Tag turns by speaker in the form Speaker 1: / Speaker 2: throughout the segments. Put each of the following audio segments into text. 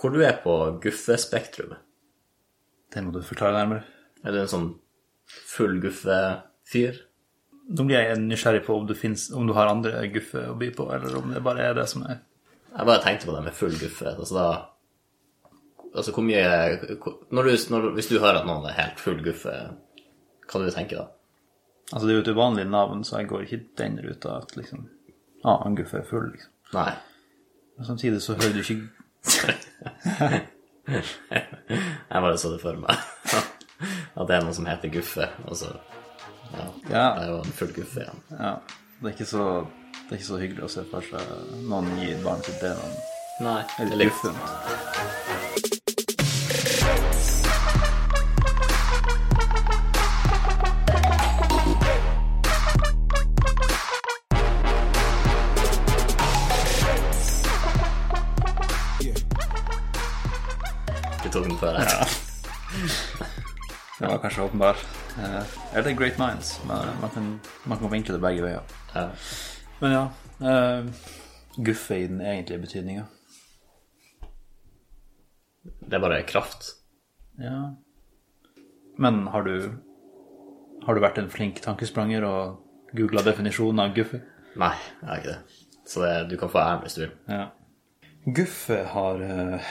Speaker 1: hvor du er på guffespektrumet.
Speaker 2: Det må du forklare nærmere.
Speaker 1: Er du en sånn full guffe-fyr?
Speaker 2: Nå blir jeg nysgjerrig på om, du finnes, om du har andre guffe å by på, eller om det bare er det som er
Speaker 1: Jeg bare tenkte på det med full guffe. Altså da Altså hvor mye hvor- når du, når, Hvis du hører at noen er helt full guffe, hva du tenker da?
Speaker 2: Altså, det er jo et uvanlig navn, så jeg går ikke den ruta at liksom Ja, han guffe er full, liksom.
Speaker 1: Nei.
Speaker 2: Men samtidig så hører du ikke
Speaker 1: Jeg bare så det for meg. At det er noen som heter Guffe, og så Ja.
Speaker 2: Ja.
Speaker 1: Det er jo en full guffe igjen.
Speaker 2: Ja. Det er ikke så, det er ikke så hyggelig å se for seg noen gir barnet sitt det navnet.
Speaker 1: Nei.
Speaker 2: Eller
Speaker 1: Eller
Speaker 2: guffen.
Speaker 1: Vi tok den før. Ja.
Speaker 2: Det var kanskje åpenbar. Eh, eller Great Minds. Man, man, kan, man kan vinkle det begge veier.
Speaker 1: Ja.
Speaker 2: Men ja. eh, guffe i den egentlige betydninga.
Speaker 1: Det er bare kraft.
Speaker 2: Ja. Men har du, har du vært en flink tankespranger og googla definisjonen av guffe?
Speaker 1: Nei, jeg har ikke det. Så det, du kan få æren hvis du vil.
Speaker 2: Ja. Guffe har eh,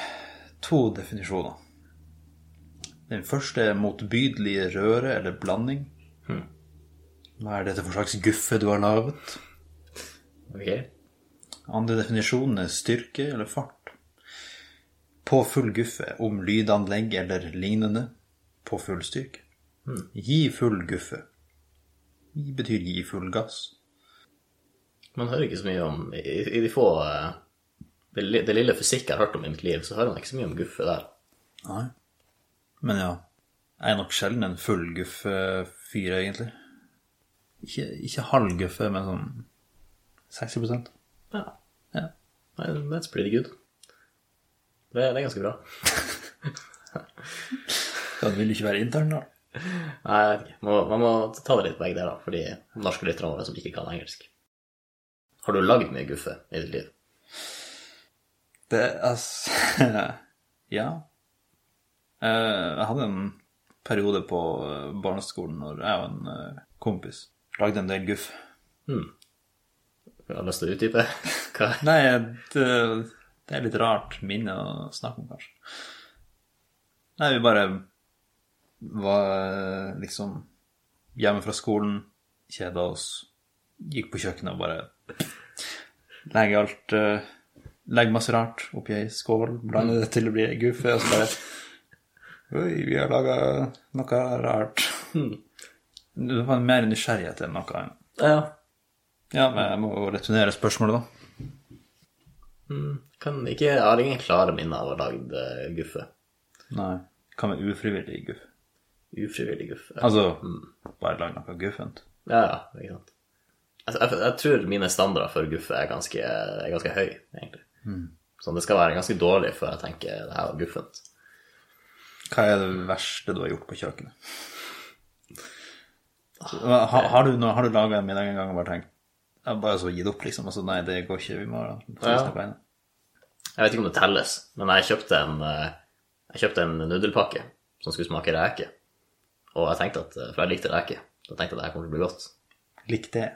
Speaker 2: to definisjoner. Den første er motbydelig røre eller blanding. Hm. Hva er dette for slags guffe du har laget?
Speaker 1: Ok?
Speaker 2: Andre definisjonen er styrke eller fart. På full guffe om lydanlegg eller lignende. På full styrke. Gi full guffe. Gi betyr gi full gass.
Speaker 1: Man hører ikke så mye om I, i de få eh, det, li- det lille fysikk jeg har hørt om i mitt liv, så hører man ikke så mye om Guffe der.
Speaker 2: Nei. Men ja, jeg er nok sjelden en fullguffe-fyr, egentlig. Ikke, ikke halvguffe, men sånn 60
Speaker 1: Ja.
Speaker 2: Ja.
Speaker 1: Nei, that's pretty good. Det, det er ganske bra.
Speaker 2: Ja, du vil jo ikke være intern, da.
Speaker 1: Nei, jeg vet ikke. Må, man må ta det litt begge deler, for de norske lytterne våre som ikke kan engelsk. Har du lagd mye guffe i ditt liv?
Speaker 2: Det er altså Ja. Eh, Jeg hadde en periode på eh, barneskolen når jeg og en eh, kompis lagde en del guff.
Speaker 1: Jeg har lyst til å utdype. Hva?
Speaker 2: Nei, det, det er litt rart minne å snakke om, kanskje. Nei, vi bare var eh, liksom hjemme fra skolen, kjeda oss, gikk på kjøkkenet og bare legge alt eh, Legge masse rart oppi ei skål, blande det til det blir guffe, og så bare Oi, vi har laga noe rart. Det var mer nysgjerrighet enn noe annet.
Speaker 1: Ja.
Speaker 2: Ja, men jeg må jo returnere spørsmålet, da.
Speaker 1: Kan ikke, jeg har ingen klare minner av å ha lagd eh, guffe.
Speaker 2: Nei. Hva med ufrivillig guff?
Speaker 1: Ufrivillig guffe.
Speaker 2: Altså, bare lag noe guffent.
Speaker 1: Ja, ja, ikke sant. Altså, jeg, jeg tror mine standarder for guffe er ganske, er ganske høy, egentlig.
Speaker 2: Mm.
Speaker 1: Sånn, det skal være ganske dårlig før jeg tenker det her var guffent.
Speaker 2: Hva er det verste du har gjort på kjøkkenet? Hva- Ha, har du, noe- har du laga en middag en gang og bare tenkt ja, Bare så gitt opp, liksom? Altså, nei, det går ikke, vi må
Speaker 1: Ja.
Speaker 2: finne på en.
Speaker 1: Jeg vet ikke om det telles, men jeg kjøpte en, eh, jeg kjøpte en nudelpakke som skulle smake reke. Og jeg tenkte at, eh, for jeg likte reke, da tenkte jeg at det her kommer til å bli godt.
Speaker 2: Lik det.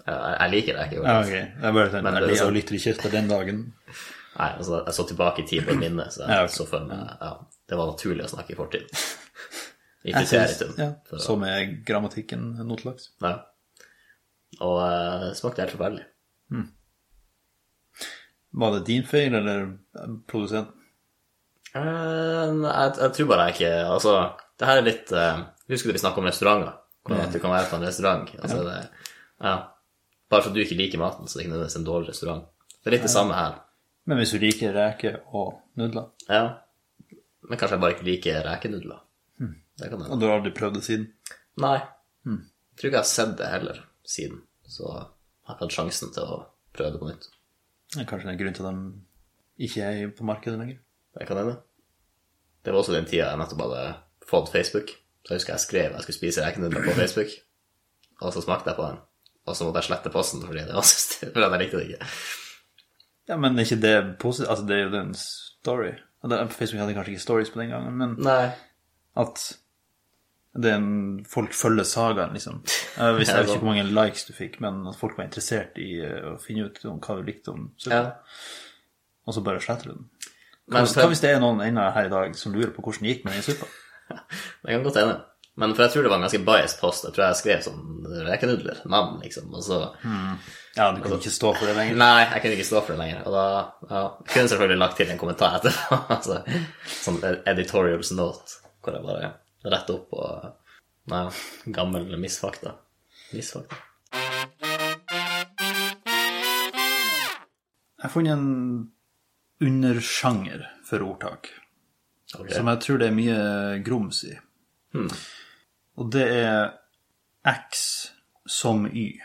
Speaker 1: Jeg, jeg liker reke godt.
Speaker 2: Ja, ok. Jeg bare tenkte,
Speaker 1: Men
Speaker 2: jeg
Speaker 1: det er
Speaker 2: liker-
Speaker 1: sånn-
Speaker 2: lytter ikke etter den dagen.
Speaker 1: Nei, altså, jeg så tilbake i tid på et minne, så jeg
Speaker 2: Ja, ok.
Speaker 1: så for meg ja, det var naturlig å snakke i fortid. I
Speaker 2: Jeg
Speaker 1: kriteritum.
Speaker 2: synes- Ja,
Speaker 1: for å-
Speaker 2: som er grammatikken noe til dags.
Speaker 1: Ja. Og eh, det smakte helt forferdelig.
Speaker 2: Var det din feil, eller eh, produsenten?
Speaker 1: Eh, jeg, jeg tror bare jeg ikke Altså, det her er litt eh, Husker du vi snakket om restauranter? Hvordan at du kan være på en restaurant. Altså, det, ja. Bare fordi du ikke liker maten, så er det ikke nødvendigvis en dårlig restaurant. Det er litt det samme her.
Speaker 2: Men hvis du liker reker og nudler,
Speaker 1: Ja. Men kanskje jeg bare ikke liker rekenudler. Det kan hende.
Speaker 2: og du har aldri prøvd det siden
Speaker 1: Nei. Jeg tror ikke jeg har sett det heller siden. Så jeg har ikke hatt sjansen til å prøve det på nytt.
Speaker 2: Det er kanskje det er grunn til at de ikke er på markedet lenger.
Speaker 1: Det kan hende. Det var også den tida jeg nettopp hadde fått Facebook. Så jeg husker jeg skrev jeg skulle spise rekenudler på Facebook, og så smakte jeg på den. Og så måtte jeg slette posten fordi det var så styr, fordi jeg likte det ikke.
Speaker 2: Ja, men er ikke det positivt? Altså, det er jo en story. og da- Facebook hadde kanskje ikke stories på den gangen, men
Speaker 1: Nei.
Speaker 2: at det er en, folk følger sagaen, liksom. Jeg visste jeg vet ikke hvor mange likes du fikk, men at folk var interessert i eh, å finne ut om hva du likte om
Speaker 1: Ja.
Speaker 2: serien, og så bare sletter du den. Hva
Speaker 1: Men
Speaker 2: hvis, hva hvis det er noen ennå her i dag som lurer på hvordan det gikk med den suppa?
Speaker 1: Det kan godt hende. Men for jeg tror det var en ganske biased post. Jeg tror jeg skrev sånn rekenudler, navn, liksom. Og så
Speaker 2: Ja, du kan ikke stå for det lenger.
Speaker 1: Nei, jeg kunne ikke stå for det lenger. Og da ja, jeg kunne selvfølgelig lagt til en kommentar etterpå. altså, sånn editorials note, hvor jeg bare retter opp og Nei, gammel misfakta. Misfakta.
Speaker 2: Jeg har funnet en undersjanger for ordtak,
Speaker 1: Ok.
Speaker 2: som jeg tror det er mye grums i. Og det er X som Y.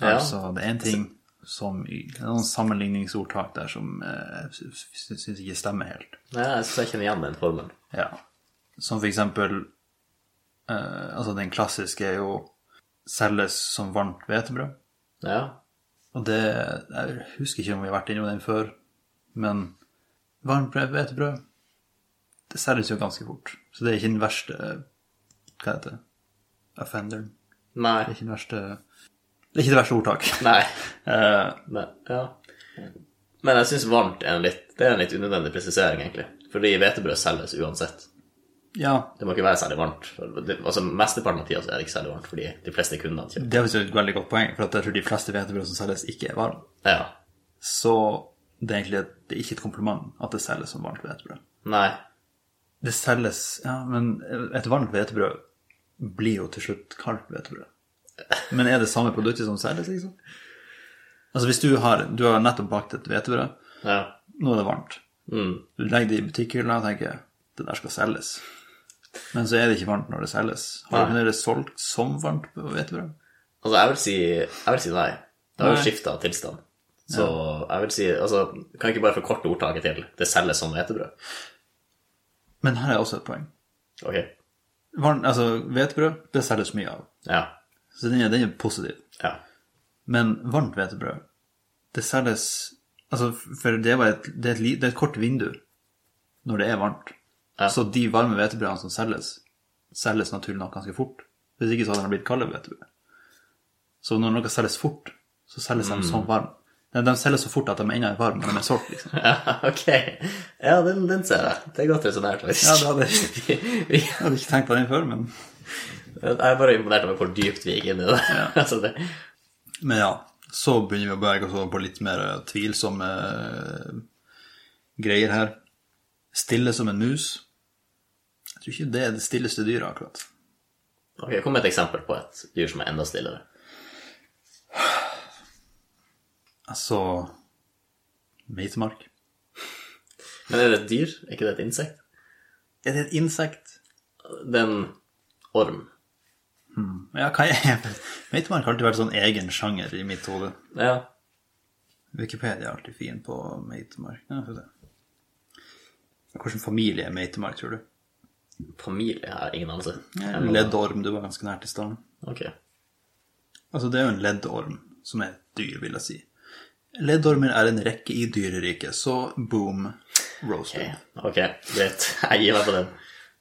Speaker 1: Ja.
Speaker 2: Altså, det er én ting som Y. Det er noen sammenligningsordtak der som eh, jeg syns ikke stemmer helt.
Speaker 1: Nei, jeg syns jeg kjenner igjen den formen.
Speaker 2: Ja. Som for eksempel eh, Altså, den klassiske er jo selges som varmt hvetebrød.
Speaker 1: Ja.
Speaker 2: Og det Jeg husker ikke om vi har vært innom den før, men varmt brød, hvetebrød Det selges jo ganske fort. Så det er ikke den verste Hva heter det? Offenderen. Det er
Speaker 1: Nei.
Speaker 2: ikke den verste Det er ikke det verste ordtak.
Speaker 1: Nei.
Speaker 2: Eh,
Speaker 1: Men, ja. Men jeg syns varmt er en litt Det er en litt unødvendig presisering, egentlig. Fordi hvetebrød selges uansett.
Speaker 2: ja,
Speaker 1: Det må ikke være særlig varmt. For det, altså, Mesteparten av tida så er det ikke særlig varmt, fordi de fleste kundene kjøper.
Speaker 2: det er visst et veldig godt poeng, for at jeg tror de fleste hvetebrød som selges, ikke er varme.
Speaker 1: Ja.
Speaker 2: Så det er egentlig et, det er ikke et kompliment at det selges som varmt hvetebrød.
Speaker 1: Nei.
Speaker 2: Det selges Ja, men et varmt hvetebrød blir jo til slutt kaldt hvetebrød. Men er det samme produktet som selges, liksom? Altså, hvis du har, du har nettopp bakt et hvetebrød,
Speaker 1: Ja.
Speaker 2: nå er det varmt.
Speaker 1: Mm.
Speaker 2: Du legger det i butikkhylla og tenker det der skal selges. Men så er det ikke varmt når det selges. Har
Speaker 1: Nei.
Speaker 2: det vært solgt som varmt hvetebrød?
Speaker 1: Altså, jeg vil si, jeg vil si nei. Det har
Speaker 2: Nei.
Speaker 1: jo skifta tilstand. Så jeg vil si Altså, kan jeg ikke bare forkorte ordtaket til 'det selges som hvetebrød'?
Speaker 2: Men her er også et poeng.
Speaker 1: Ok.
Speaker 2: Varmt, altså, hvetebrød, det selges mye av.
Speaker 1: Ja.
Speaker 2: Så den er, den er positiv.
Speaker 1: Ja.
Speaker 2: Men varmt hvetebrød, det selges Altså, for det, var et, det, er et, li- det er et kort vindu når det er varmt.
Speaker 1: Ja.
Speaker 2: Så de varme hvetebrødene som selges, selges naturlig nok ganske fort. Hvis ikke så hadde de blitt kalde hvetebrød. Så når noe selges fort, så selges de som varm. De, de selges så fort at de ennå er varme når de er solgt, liksom.
Speaker 1: ja ok. Ja, den, den ser jeg. Det er godt resonnert, faktisk.
Speaker 2: Ja, det hadde jeg ikke-
Speaker 1: Vi-
Speaker 2: jeg hadde ikke tenkt på den før, men
Speaker 1: jeg er bare imponert over hvor dypt vi gikk inn i det. altså, det
Speaker 2: Men ja, så begynner vi å bevege oss over på litt mer eh, tvilsomme eh, greier her. Stille som en mus. Jeg tror ikke det er det stilleste dyret, akkurat.
Speaker 1: Ok, Kom med et eksempel på et dyr som er enda stillere.
Speaker 2: Altså Meitemark.
Speaker 1: Men er det et dyr? Er ikke det et insekt?
Speaker 2: Er det et insekt?
Speaker 1: Det er en orm.
Speaker 2: Ja, hva er Meitemark har alltid vært sånn egen sjanger i mitt hode.
Speaker 1: Ja.
Speaker 2: Wikipedia er alltid fin på meitemark. Ja, får vi se. Hvilken familie er meitemark, tror du?
Speaker 1: Familie har jeg ingen anelse.
Speaker 2: Leddorm, du var ganske nært i stand.
Speaker 1: Ok.
Speaker 2: Altså, det er jo en leddorm, som er et dyr, vil jeg si. Leddormer er en rekke i dyreriket, så boom, roasted.
Speaker 1: Ok, greit. Jeg gir meg på den.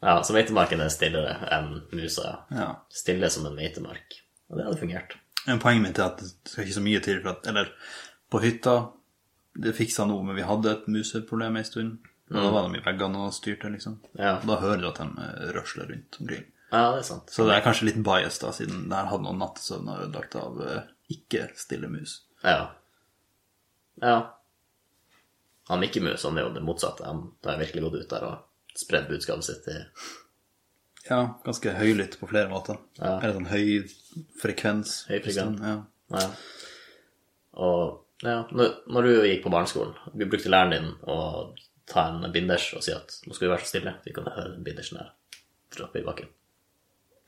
Speaker 1: Ja, så meitemarken er stillere enn musa.
Speaker 2: Ja.
Speaker 1: Stille som en meitemark. Og det hadde fungert.
Speaker 2: Men poenget mitt er at det skal ikke så mye til for at Eller, på hytta Det fiksa noe, men vi hadde et museproblem ei stund. Og da var de i veggene og styrte, liksom.
Speaker 1: Mm. Ja.
Speaker 2: Og da hører du at de eh, røsler rundt omkring.
Speaker 1: Ja, det er sant.
Speaker 2: Så det er kanskje litt bias, da, siden der hadde noen nattesøvn og ødelagt av eh, ikke-stille mus.
Speaker 1: Ja. Ja. Han Mikke Mus han er jo det motsatte. Han har virkelig gått ut der og spredd budskapet sitt til
Speaker 2: Ja, ganske høylytt på flere måter.
Speaker 1: Ja.
Speaker 2: Eller sånn høy frekvens.
Speaker 1: Høy frekvens.
Speaker 2: Ja.
Speaker 1: Ja. Og ja, når, når du gikk på barneskolen, du brukte læreren din å ta en binders og si at nå skal vi være så stille, vi kan høre den bindersen her droppe i bakken.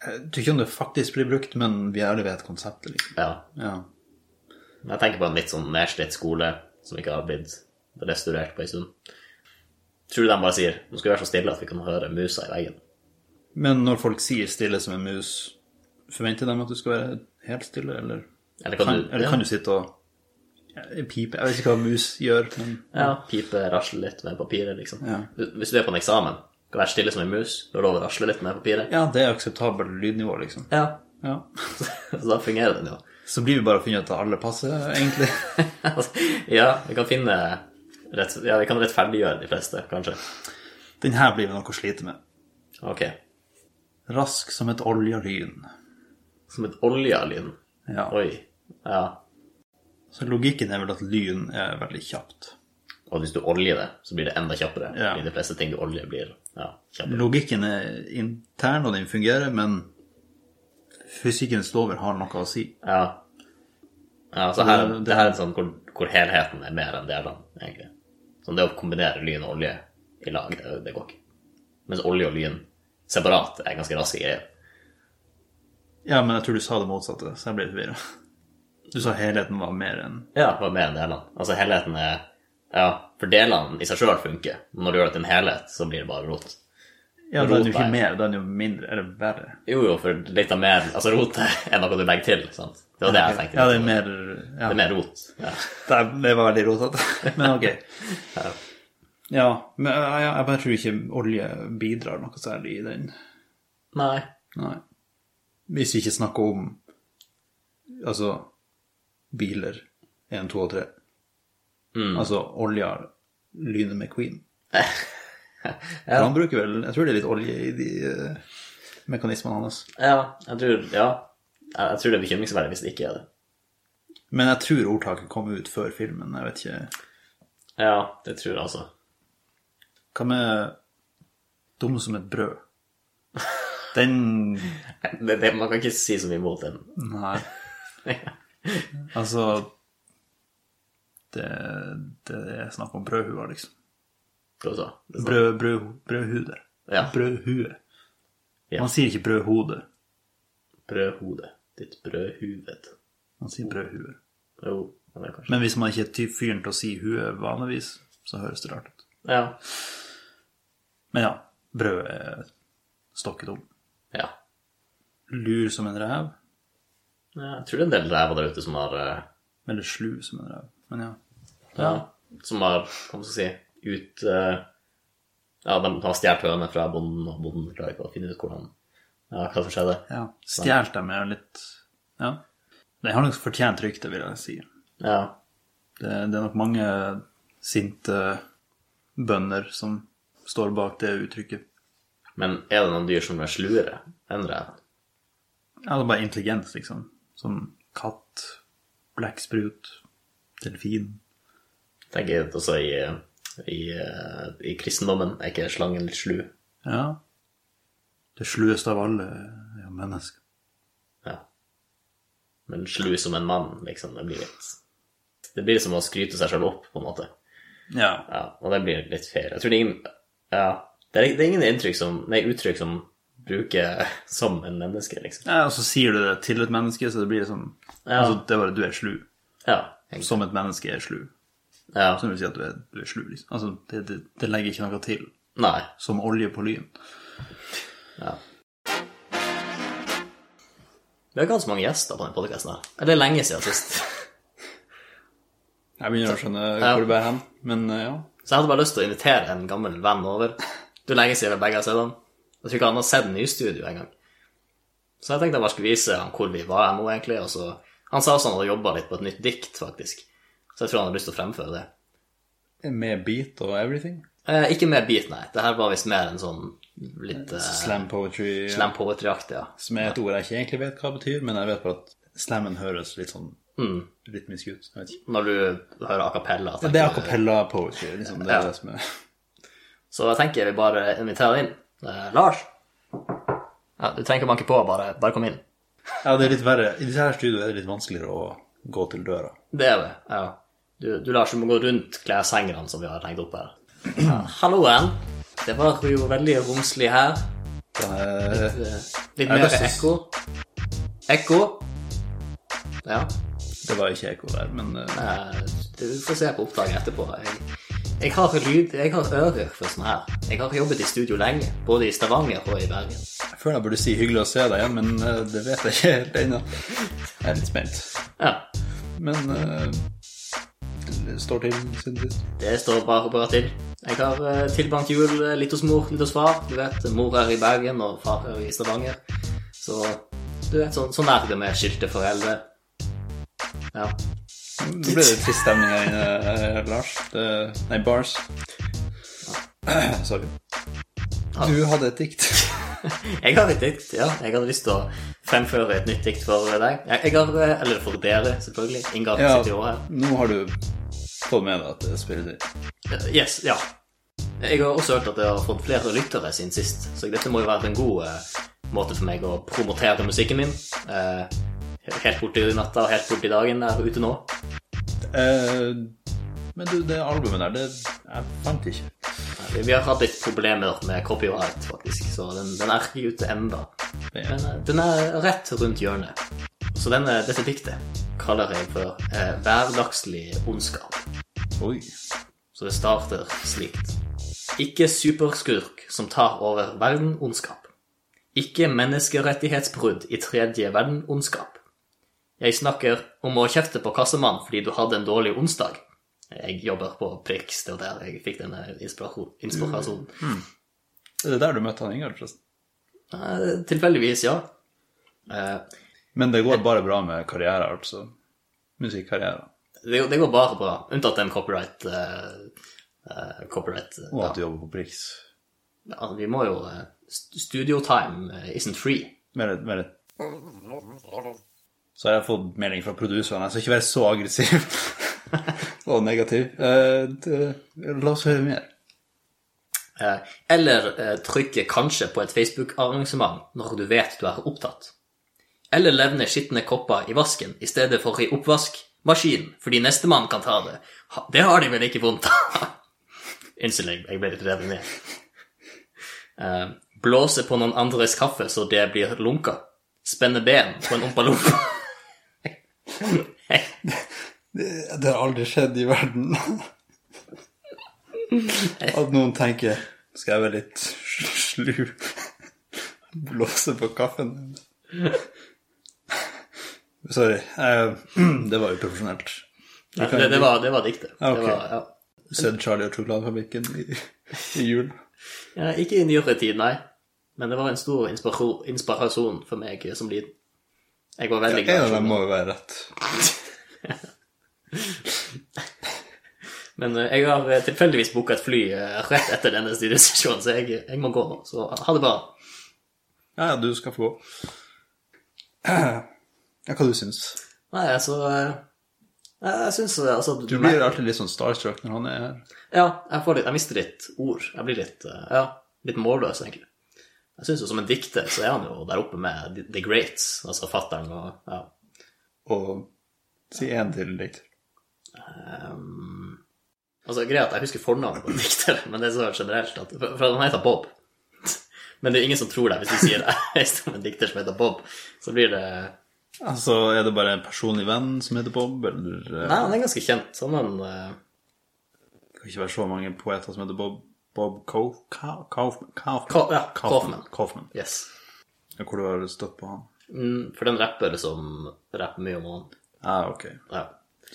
Speaker 2: Jeg tror ikke om det faktisk blir brukt, men vi alle vet konseptet, liksom.
Speaker 1: Ja.
Speaker 2: Ja.
Speaker 1: Men Jeg tenker på en litt sånn nedslitt skole som ikke har blitt restaurert på en stund. Tror du de bare sier 'nå skal vi være så stille at vi kan høre musa i veggen'?
Speaker 2: Men når folk sier 'stille som en mus', forventer de at du skal være helt stille, eller
Speaker 1: Eller kan
Speaker 2: kan,
Speaker 1: du-
Speaker 2: eller
Speaker 1: ja.
Speaker 2: kan du sitte og En pipe. Jeg vet ikke hva mus gjør, men
Speaker 1: Pipe, rasle litt med papiret, liksom.
Speaker 3: Ja.
Speaker 1: Hvis du er på en eksamen, kan være stille som en mus, du har lov å rasle litt med papiret.
Speaker 2: ja, det er akseptabelt lydnivå, liksom.
Speaker 1: Ja.
Speaker 3: Ja.
Speaker 1: Så da fungerer den jo.
Speaker 2: Så blir vi bare å finne ut at alle passer, egentlig.
Speaker 1: ja, vi kan finne rett, Ja, vi kan rettferdiggjøre de fleste, kanskje.
Speaker 2: Den her blir noe å slite med.
Speaker 1: Ok.
Speaker 2: Rask som et oljelyn.
Speaker 1: Som et olje av lyden.
Speaker 2: Ja.
Speaker 1: Oi. Ja.
Speaker 2: Så logikken er vel at lyn er veldig kjapt.
Speaker 1: Og hvis du oljer det, så blir det enda kjappere.
Speaker 2: Ja.
Speaker 1: Fordi de fleste ting du oljer, blir ja, kjappere.
Speaker 2: Logikken er intern, og den fungerer, men fysikkens lover har noe å si.
Speaker 1: Ja. ja så her,
Speaker 2: Det- det-
Speaker 1: det her er en sånn hvor, hvor helheten er mer enn delene, egentlig. Sånn det å kombinere lyn og olje i lag, det, det går ikke. Mens olje og lyn separat er ganske raske greier.
Speaker 2: Ja, men jeg tror du sa det motsatte, så jeg ble forvirra. Du sa helheten var mer enn
Speaker 1: Ja, var med delene. Altså helheten er Ja, for delene i seg sjøl funker. Men når du gjør det til en helhet, så blir det bare rot.
Speaker 2: Ja, da er den jo
Speaker 1: Rotveien.
Speaker 2: ikke mer, da er den jo mindre, eller verre.
Speaker 1: Jo, jo, for litt av mer Altså, rot er noe du legger til, sant? Det var det jeg tenkte.
Speaker 2: Ja, det er mer ja.
Speaker 1: Det er mer rot. Ja.
Speaker 2: Det, er- det var veldig rotete, men ok. Ja, men ja, ja, jeg bare tror ikke olje bidrar noe særlig i den.
Speaker 1: Nei.
Speaker 2: Nei. Hvis vi ikke snakker om altså biler 1, 2 og 3. Altså olja lynet med Queen. For Han bruker vel Jeg tror det er litt olje i de eh, mekanismene hans.
Speaker 1: Ja, jeg tror Ja. Jeg jeg tror det er bekymringsverdig hvis det ikke er det.
Speaker 2: Men jeg tror ordtaket kom ut før filmen. Jeg vet ikke
Speaker 1: Ja, det tror jeg altså.
Speaker 2: Hva med 'dum som et brød'? Den
Speaker 1: Det, det, man kan ikke si så mye imot den.
Speaker 2: Nei. Altså det, det er snakk om brødhuer, liksom.
Speaker 1: Hva du sa du?
Speaker 2: Brød, brød, brødhuder.
Speaker 1: altså. Ja.
Speaker 2: Brødhue.
Speaker 1: Ja.
Speaker 2: Man sier ikke brødhode,
Speaker 1: Brødhode. Ditt brødhuved.
Speaker 2: man sier brødhue.
Speaker 1: Jo, det er kanskje
Speaker 2: Men hvis man ikke er ty- fyren til å si hue vanligvis, så høres det rart ut.
Speaker 1: Ja.
Speaker 2: Men ja, brød er stokket om.
Speaker 1: ja.
Speaker 2: Lur som en rev,
Speaker 1: Ja, Jeg tror det er en del ræver der ute som har eh,
Speaker 2: eller slu som en rev. Men ja.
Speaker 1: ja, Som har, hva man skal si, ut eh, Ja, de har stjålet hønene fra bonden, og bonden klarer ikke å finne ut hvordan Ja, hva som skjedde.
Speaker 2: ja. Stjålet dem er jo litt Ja. De har nok fortjent rykte, vil jeg si.
Speaker 1: Ja.
Speaker 2: Det, det er nok mange sinte eh, bønder som står bak det uttrykket.
Speaker 1: Men er det noen dyr som er sluere enn reven?
Speaker 2: Ja, det er bare intelligens, liksom. Som katt, blekksprut, delfin.
Speaker 1: Tenker jeg også i, i, eh, i kristendommen. Er ikke slangen litt slu?
Speaker 2: Ja. Det slueste av alle er mennesker.
Speaker 1: Ja. Men slu som en mann, liksom. Det blir litt Det blir som å skryte seg sjøl opp, på en måte.
Speaker 2: Ja.
Speaker 1: Ja, og det blir litt feil. Jeg tror det er ingen Ja. Det er, det er ingen inntrykk som Nei, uttrykk som bruker som en menneske, liksom.
Speaker 2: ja. Og så sier du det til et menneske, så det blir liksom
Speaker 1: Ja.
Speaker 2: altså, Det er bare du er slu.
Speaker 1: Ja. egentlig.
Speaker 2: Som et menneske er slu.
Speaker 1: ja.
Speaker 2: Så det vil si at du er, du er slu, liksom. Altså, det, det, det legger ikke noe til.
Speaker 1: Nei.
Speaker 2: Som olje på lyn.
Speaker 1: Ja. Vi har ikke hatt så mange gjester på denne podkasten her. Eller Det er lenge siden sist.
Speaker 2: Jeg begynner å skjønne
Speaker 1: hvor det
Speaker 2: bærer hen, men eh, ja.
Speaker 1: Så jeg hadde bare lyst til å invitere en gammel venn over. Det er lenge siden vi begge har sett han. Jeg tror ikke han har sett Nystudio engang. Så jeg tenkte jeg bare skulle vise han hvor vi var nå, egentlig. Og så, han sa også han hadde jobba litt på et nytt dikt, faktisk. Så jeg tror han har lyst til å fremføre det.
Speaker 2: Med beat og everything.
Speaker 1: Eh, ikke mer beat, nei. Det her var visst mer en sånn litt eh,
Speaker 2: Slam poetry.
Speaker 1: slam poetry-aktig, ja.
Speaker 2: Som er et ord jeg ikke egentlig vet hva det betyr, men jeg vet bare at slammen høres litt sånn
Speaker 1: Mm.
Speaker 2: rytmisk ut. Jeg vet ikke.
Speaker 1: Når du hører a cappella.
Speaker 2: Det
Speaker 1: tenker
Speaker 2: er
Speaker 1: du-
Speaker 2: acapella poetry, liksom. Det er
Speaker 1: Ja.
Speaker 2: det som er
Speaker 1: Så jeg tenker vi bare inviterer inn. Eh, Lars? Ja, du trenger ikke banke på, bare, bare kom inn.
Speaker 2: Ja, det er litt verre. I disse her studioene er det litt vanskeligere å gå til døra.
Speaker 1: Det er det, ja. Du, du Lars, du må gå rundt kleshengerne som vi har hengt opp her. Ja, Halloen. Det var jo veldig romslig her.
Speaker 2: Det
Speaker 1: Eh,
Speaker 2: er-
Speaker 1: Litt
Speaker 2: Jeg har
Speaker 1: mer
Speaker 2: lyst til-
Speaker 1: ekko. Ekko. Ja.
Speaker 2: Det var ikke ekko der, men eh,
Speaker 1: eh, Du får se på oppdraget etterpå. Jeg, jeg har lyd, jeg har ører for sånn her. Jeg har jobbet i studio lenge, både i Stavanger og i Bergen.
Speaker 2: jeg føler jeg burde si 'hyggelig å se deg igjen', men eh, det vet jeg ikke helt ennå. Jeg er litt spent.
Speaker 1: Ja.
Speaker 2: Men eh, står til siden sist?
Speaker 1: Det står bare bra til. Jeg har eh, tilbrakt jul eh, litt hos mor, litt hos far. Du vet, mor er i Bergen, og far er i Stavanger. Så du vet, sånn, sånn er det med skilte foreldre. Ja.
Speaker 2: Nå ble det trist stemning her inne, eh, Lars. Det, nei, Bars. Sorry. Du hadde et dikt.
Speaker 1: Jeg har et dikt, ja. Jeg hadde lyst til å fremføre et nytt dikt for deg. Jeg, jeg har, eh, eller for dere, selvfølgelig. Ingar
Speaker 2: Ja,
Speaker 1: sitter jo også her.
Speaker 2: nå har du fått med deg at det spiller ditt.
Speaker 1: Eh, Yes, ja. Jeg har også hørt at jeg har fått flere lyttere siden sist, så dette må jo være en god eh, måte for meg å promotere musikken min. Eh, helt borti natta og helt borti dagen der ute nå.
Speaker 2: Eh, men du, det albumet der, det jeg fant ikke.
Speaker 1: Eh, Vi har hatt litt problemer med copyright, faktisk, så den, den er ikke ute ennå.
Speaker 2: Det
Speaker 1: Men
Speaker 2: er
Speaker 1: eh, den er rett rundt hjørnet. Så denne, dette diktet kaller jeg for eh, 'Hverdagslig ondskap'.
Speaker 2: Oi.
Speaker 1: Så det starter slikt. Ikke superskurk som tar over verden-ondskap. Ikke menneskerettighetsbrudd i tredje verden-ondskap. Jeg snakker om å kjefte på kassemann fordi du hadde en dårlig onsdag. Jeg jobber på Prix, det var der jeg fikk denne inspirasjon- inspirasjonen.
Speaker 2: Er det der du møtte han Ingar, forresten?
Speaker 1: Eh, Tilfeldigvis, ja. Eh,
Speaker 2: Men det går bare bra med karriere, altså. Musikkarriere.
Speaker 1: Det, det går bare bra, unntatt den copyright... eh, eh, copyright... eh,
Speaker 2: Og at du jobber på Prix.
Speaker 1: Ja, vi må jo... eh, st- studio time eh, isn't free.
Speaker 2: Mer et, mer et. Så har jeg fått melding fra produseren. Jeg skal ikke være så aggressiv og negativ. Eh, det- la oss høre mer.
Speaker 1: Eh, Eller eh, trykke kanskje på et Facebook-arrangement når du vet du er opptatt. Eller levne skitne kopper i vasken i stedet for i oppvaskmaskinen, fordi nestemann kan ta det. Ha- Det har de vel ikke vondt av? Unnskyld, jeg- jeg ble litt revet ned. Eh, Blåse på noen andres kaffe så det blir lunka. Spenne ben på en ompalompa.
Speaker 2: Det, det har aldri skjedd i verden. At noen tenker Skal jeg være litt slu? Blåse på kaffen? Sorry. eh, det var uprofesjonelt.
Speaker 1: Det, det, var, det var diktet.
Speaker 2: Ja, ok.
Speaker 1: Det var, ja.
Speaker 2: Sett Charlie og sjokoladefabrikken i, i jul.
Speaker 1: Ja, ikke i nyere tid, nei. Men det var en stor inspirasjon, inspirasjon for meg som liten. Jeg var veldig
Speaker 2: En
Speaker 1: glad.
Speaker 2: av
Speaker 1: i
Speaker 2: dem
Speaker 1: det.
Speaker 2: må jo være rett.
Speaker 1: Men eh, jeg har eh, tilfeldigvis booka et fly eh, rett etter denne studiosesjonen, så jeg, jeg må gå nå. Så eh, ha det bra.
Speaker 2: Ja, ja, du skal få gå. Ja, hva du syns?
Speaker 1: Nei, altså eh, Jeg syns altså
Speaker 2: Du blir alltid litt sånn starstruck når han er her.
Speaker 1: Ja, jeg, får litt, jeg mister litt ord. Jeg blir litt eh, Ja, litt målløs, egentlig. Jeg syns jo som en dikter så er han jo der oppe med The- The Greats, altså fattern og ja.
Speaker 2: Og si én til litt.
Speaker 1: Ehm, altså, greit, jeg husker fornavnet på en dikter, men det er så generelt at For, for han heter Bob. Men det er ingen som tror deg hvis du sier jeg står med en dikter som heter Bob. Så blir det
Speaker 2: Altså, er det bare en personlig venn som heter Bob, eller eh,
Speaker 1: Nei, han er ganske kjent. Han er en eh,
Speaker 2: Det kan ikke være så mange poeter som heter Bob Bob Cau- Cau- Kaufman
Speaker 1: Ka- ja,
Speaker 2: Kaufman. Kaufman.
Speaker 1: Yes.
Speaker 2: Ja, Hvor du har stått på han.
Speaker 1: Mm, for den rapper som rapper mye om han.
Speaker 2: Ja, ah, ok.
Speaker 1: Ja.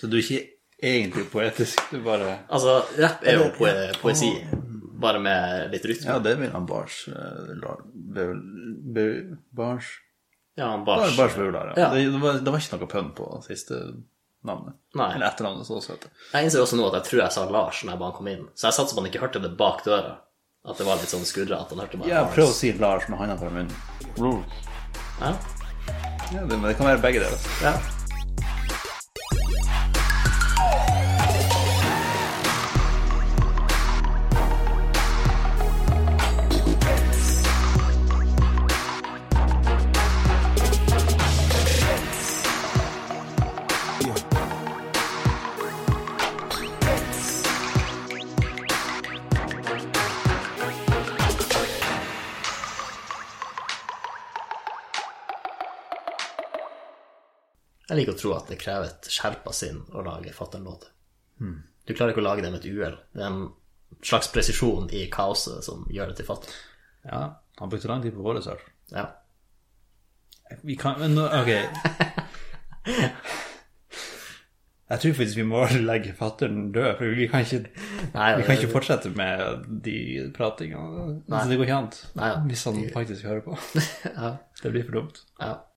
Speaker 2: Så du er ikke egentlig poetisk, du bare
Speaker 1: Altså, rapp er jo poe poesi, bare med litt rytme.
Speaker 2: Mm. Ja, det vil han Bars eh, la- be- be- Bars
Speaker 1: Ja, han
Speaker 2: Bare,
Speaker 1: bars.
Speaker 2: bare svulder, ja.
Speaker 1: Ja.
Speaker 2: Det, det, var, det var ikke noe pønn på siste navnet.
Speaker 1: Nei.
Speaker 2: Eller etternavnet, så også heter det.
Speaker 1: Jeg innser også nå at jeg tror jeg sa Lars når jeg bare kom inn, så jeg satser på at han ikke hørte det bak døra. At det var litt sånn skurre at han hørte meg.
Speaker 2: Ja, prøv å si Lars med handa fra munnen.
Speaker 1: Ja.
Speaker 2: Ja, det, men det kan være begge deler.
Speaker 1: Ja. Jeg liker å tro at det krever et skjerpa sinn å lage fatter'n-låter. Du klarer ikke å lage det med et uhell. Det er en slags presisjon i kaoset som gjør det til fatter'n.
Speaker 2: Ja, han brukte lang tid på våre surf.
Speaker 1: Ja.
Speaker 2: Vi kan men nå- Ok. Jeg tror faktisk vi må legge fatteren død, for vi kan ikke,
Speaker 1: Nei,
Speaker 2: vi kan ikke fortsette med de pratingene. Så det går ikke an
Speaker 1: Nei.
Speaker 2: hvis han faktisk hører på.
Speaker 1: ja,
Speaker 2: Det blir for dumt.
Speaker 1: ja.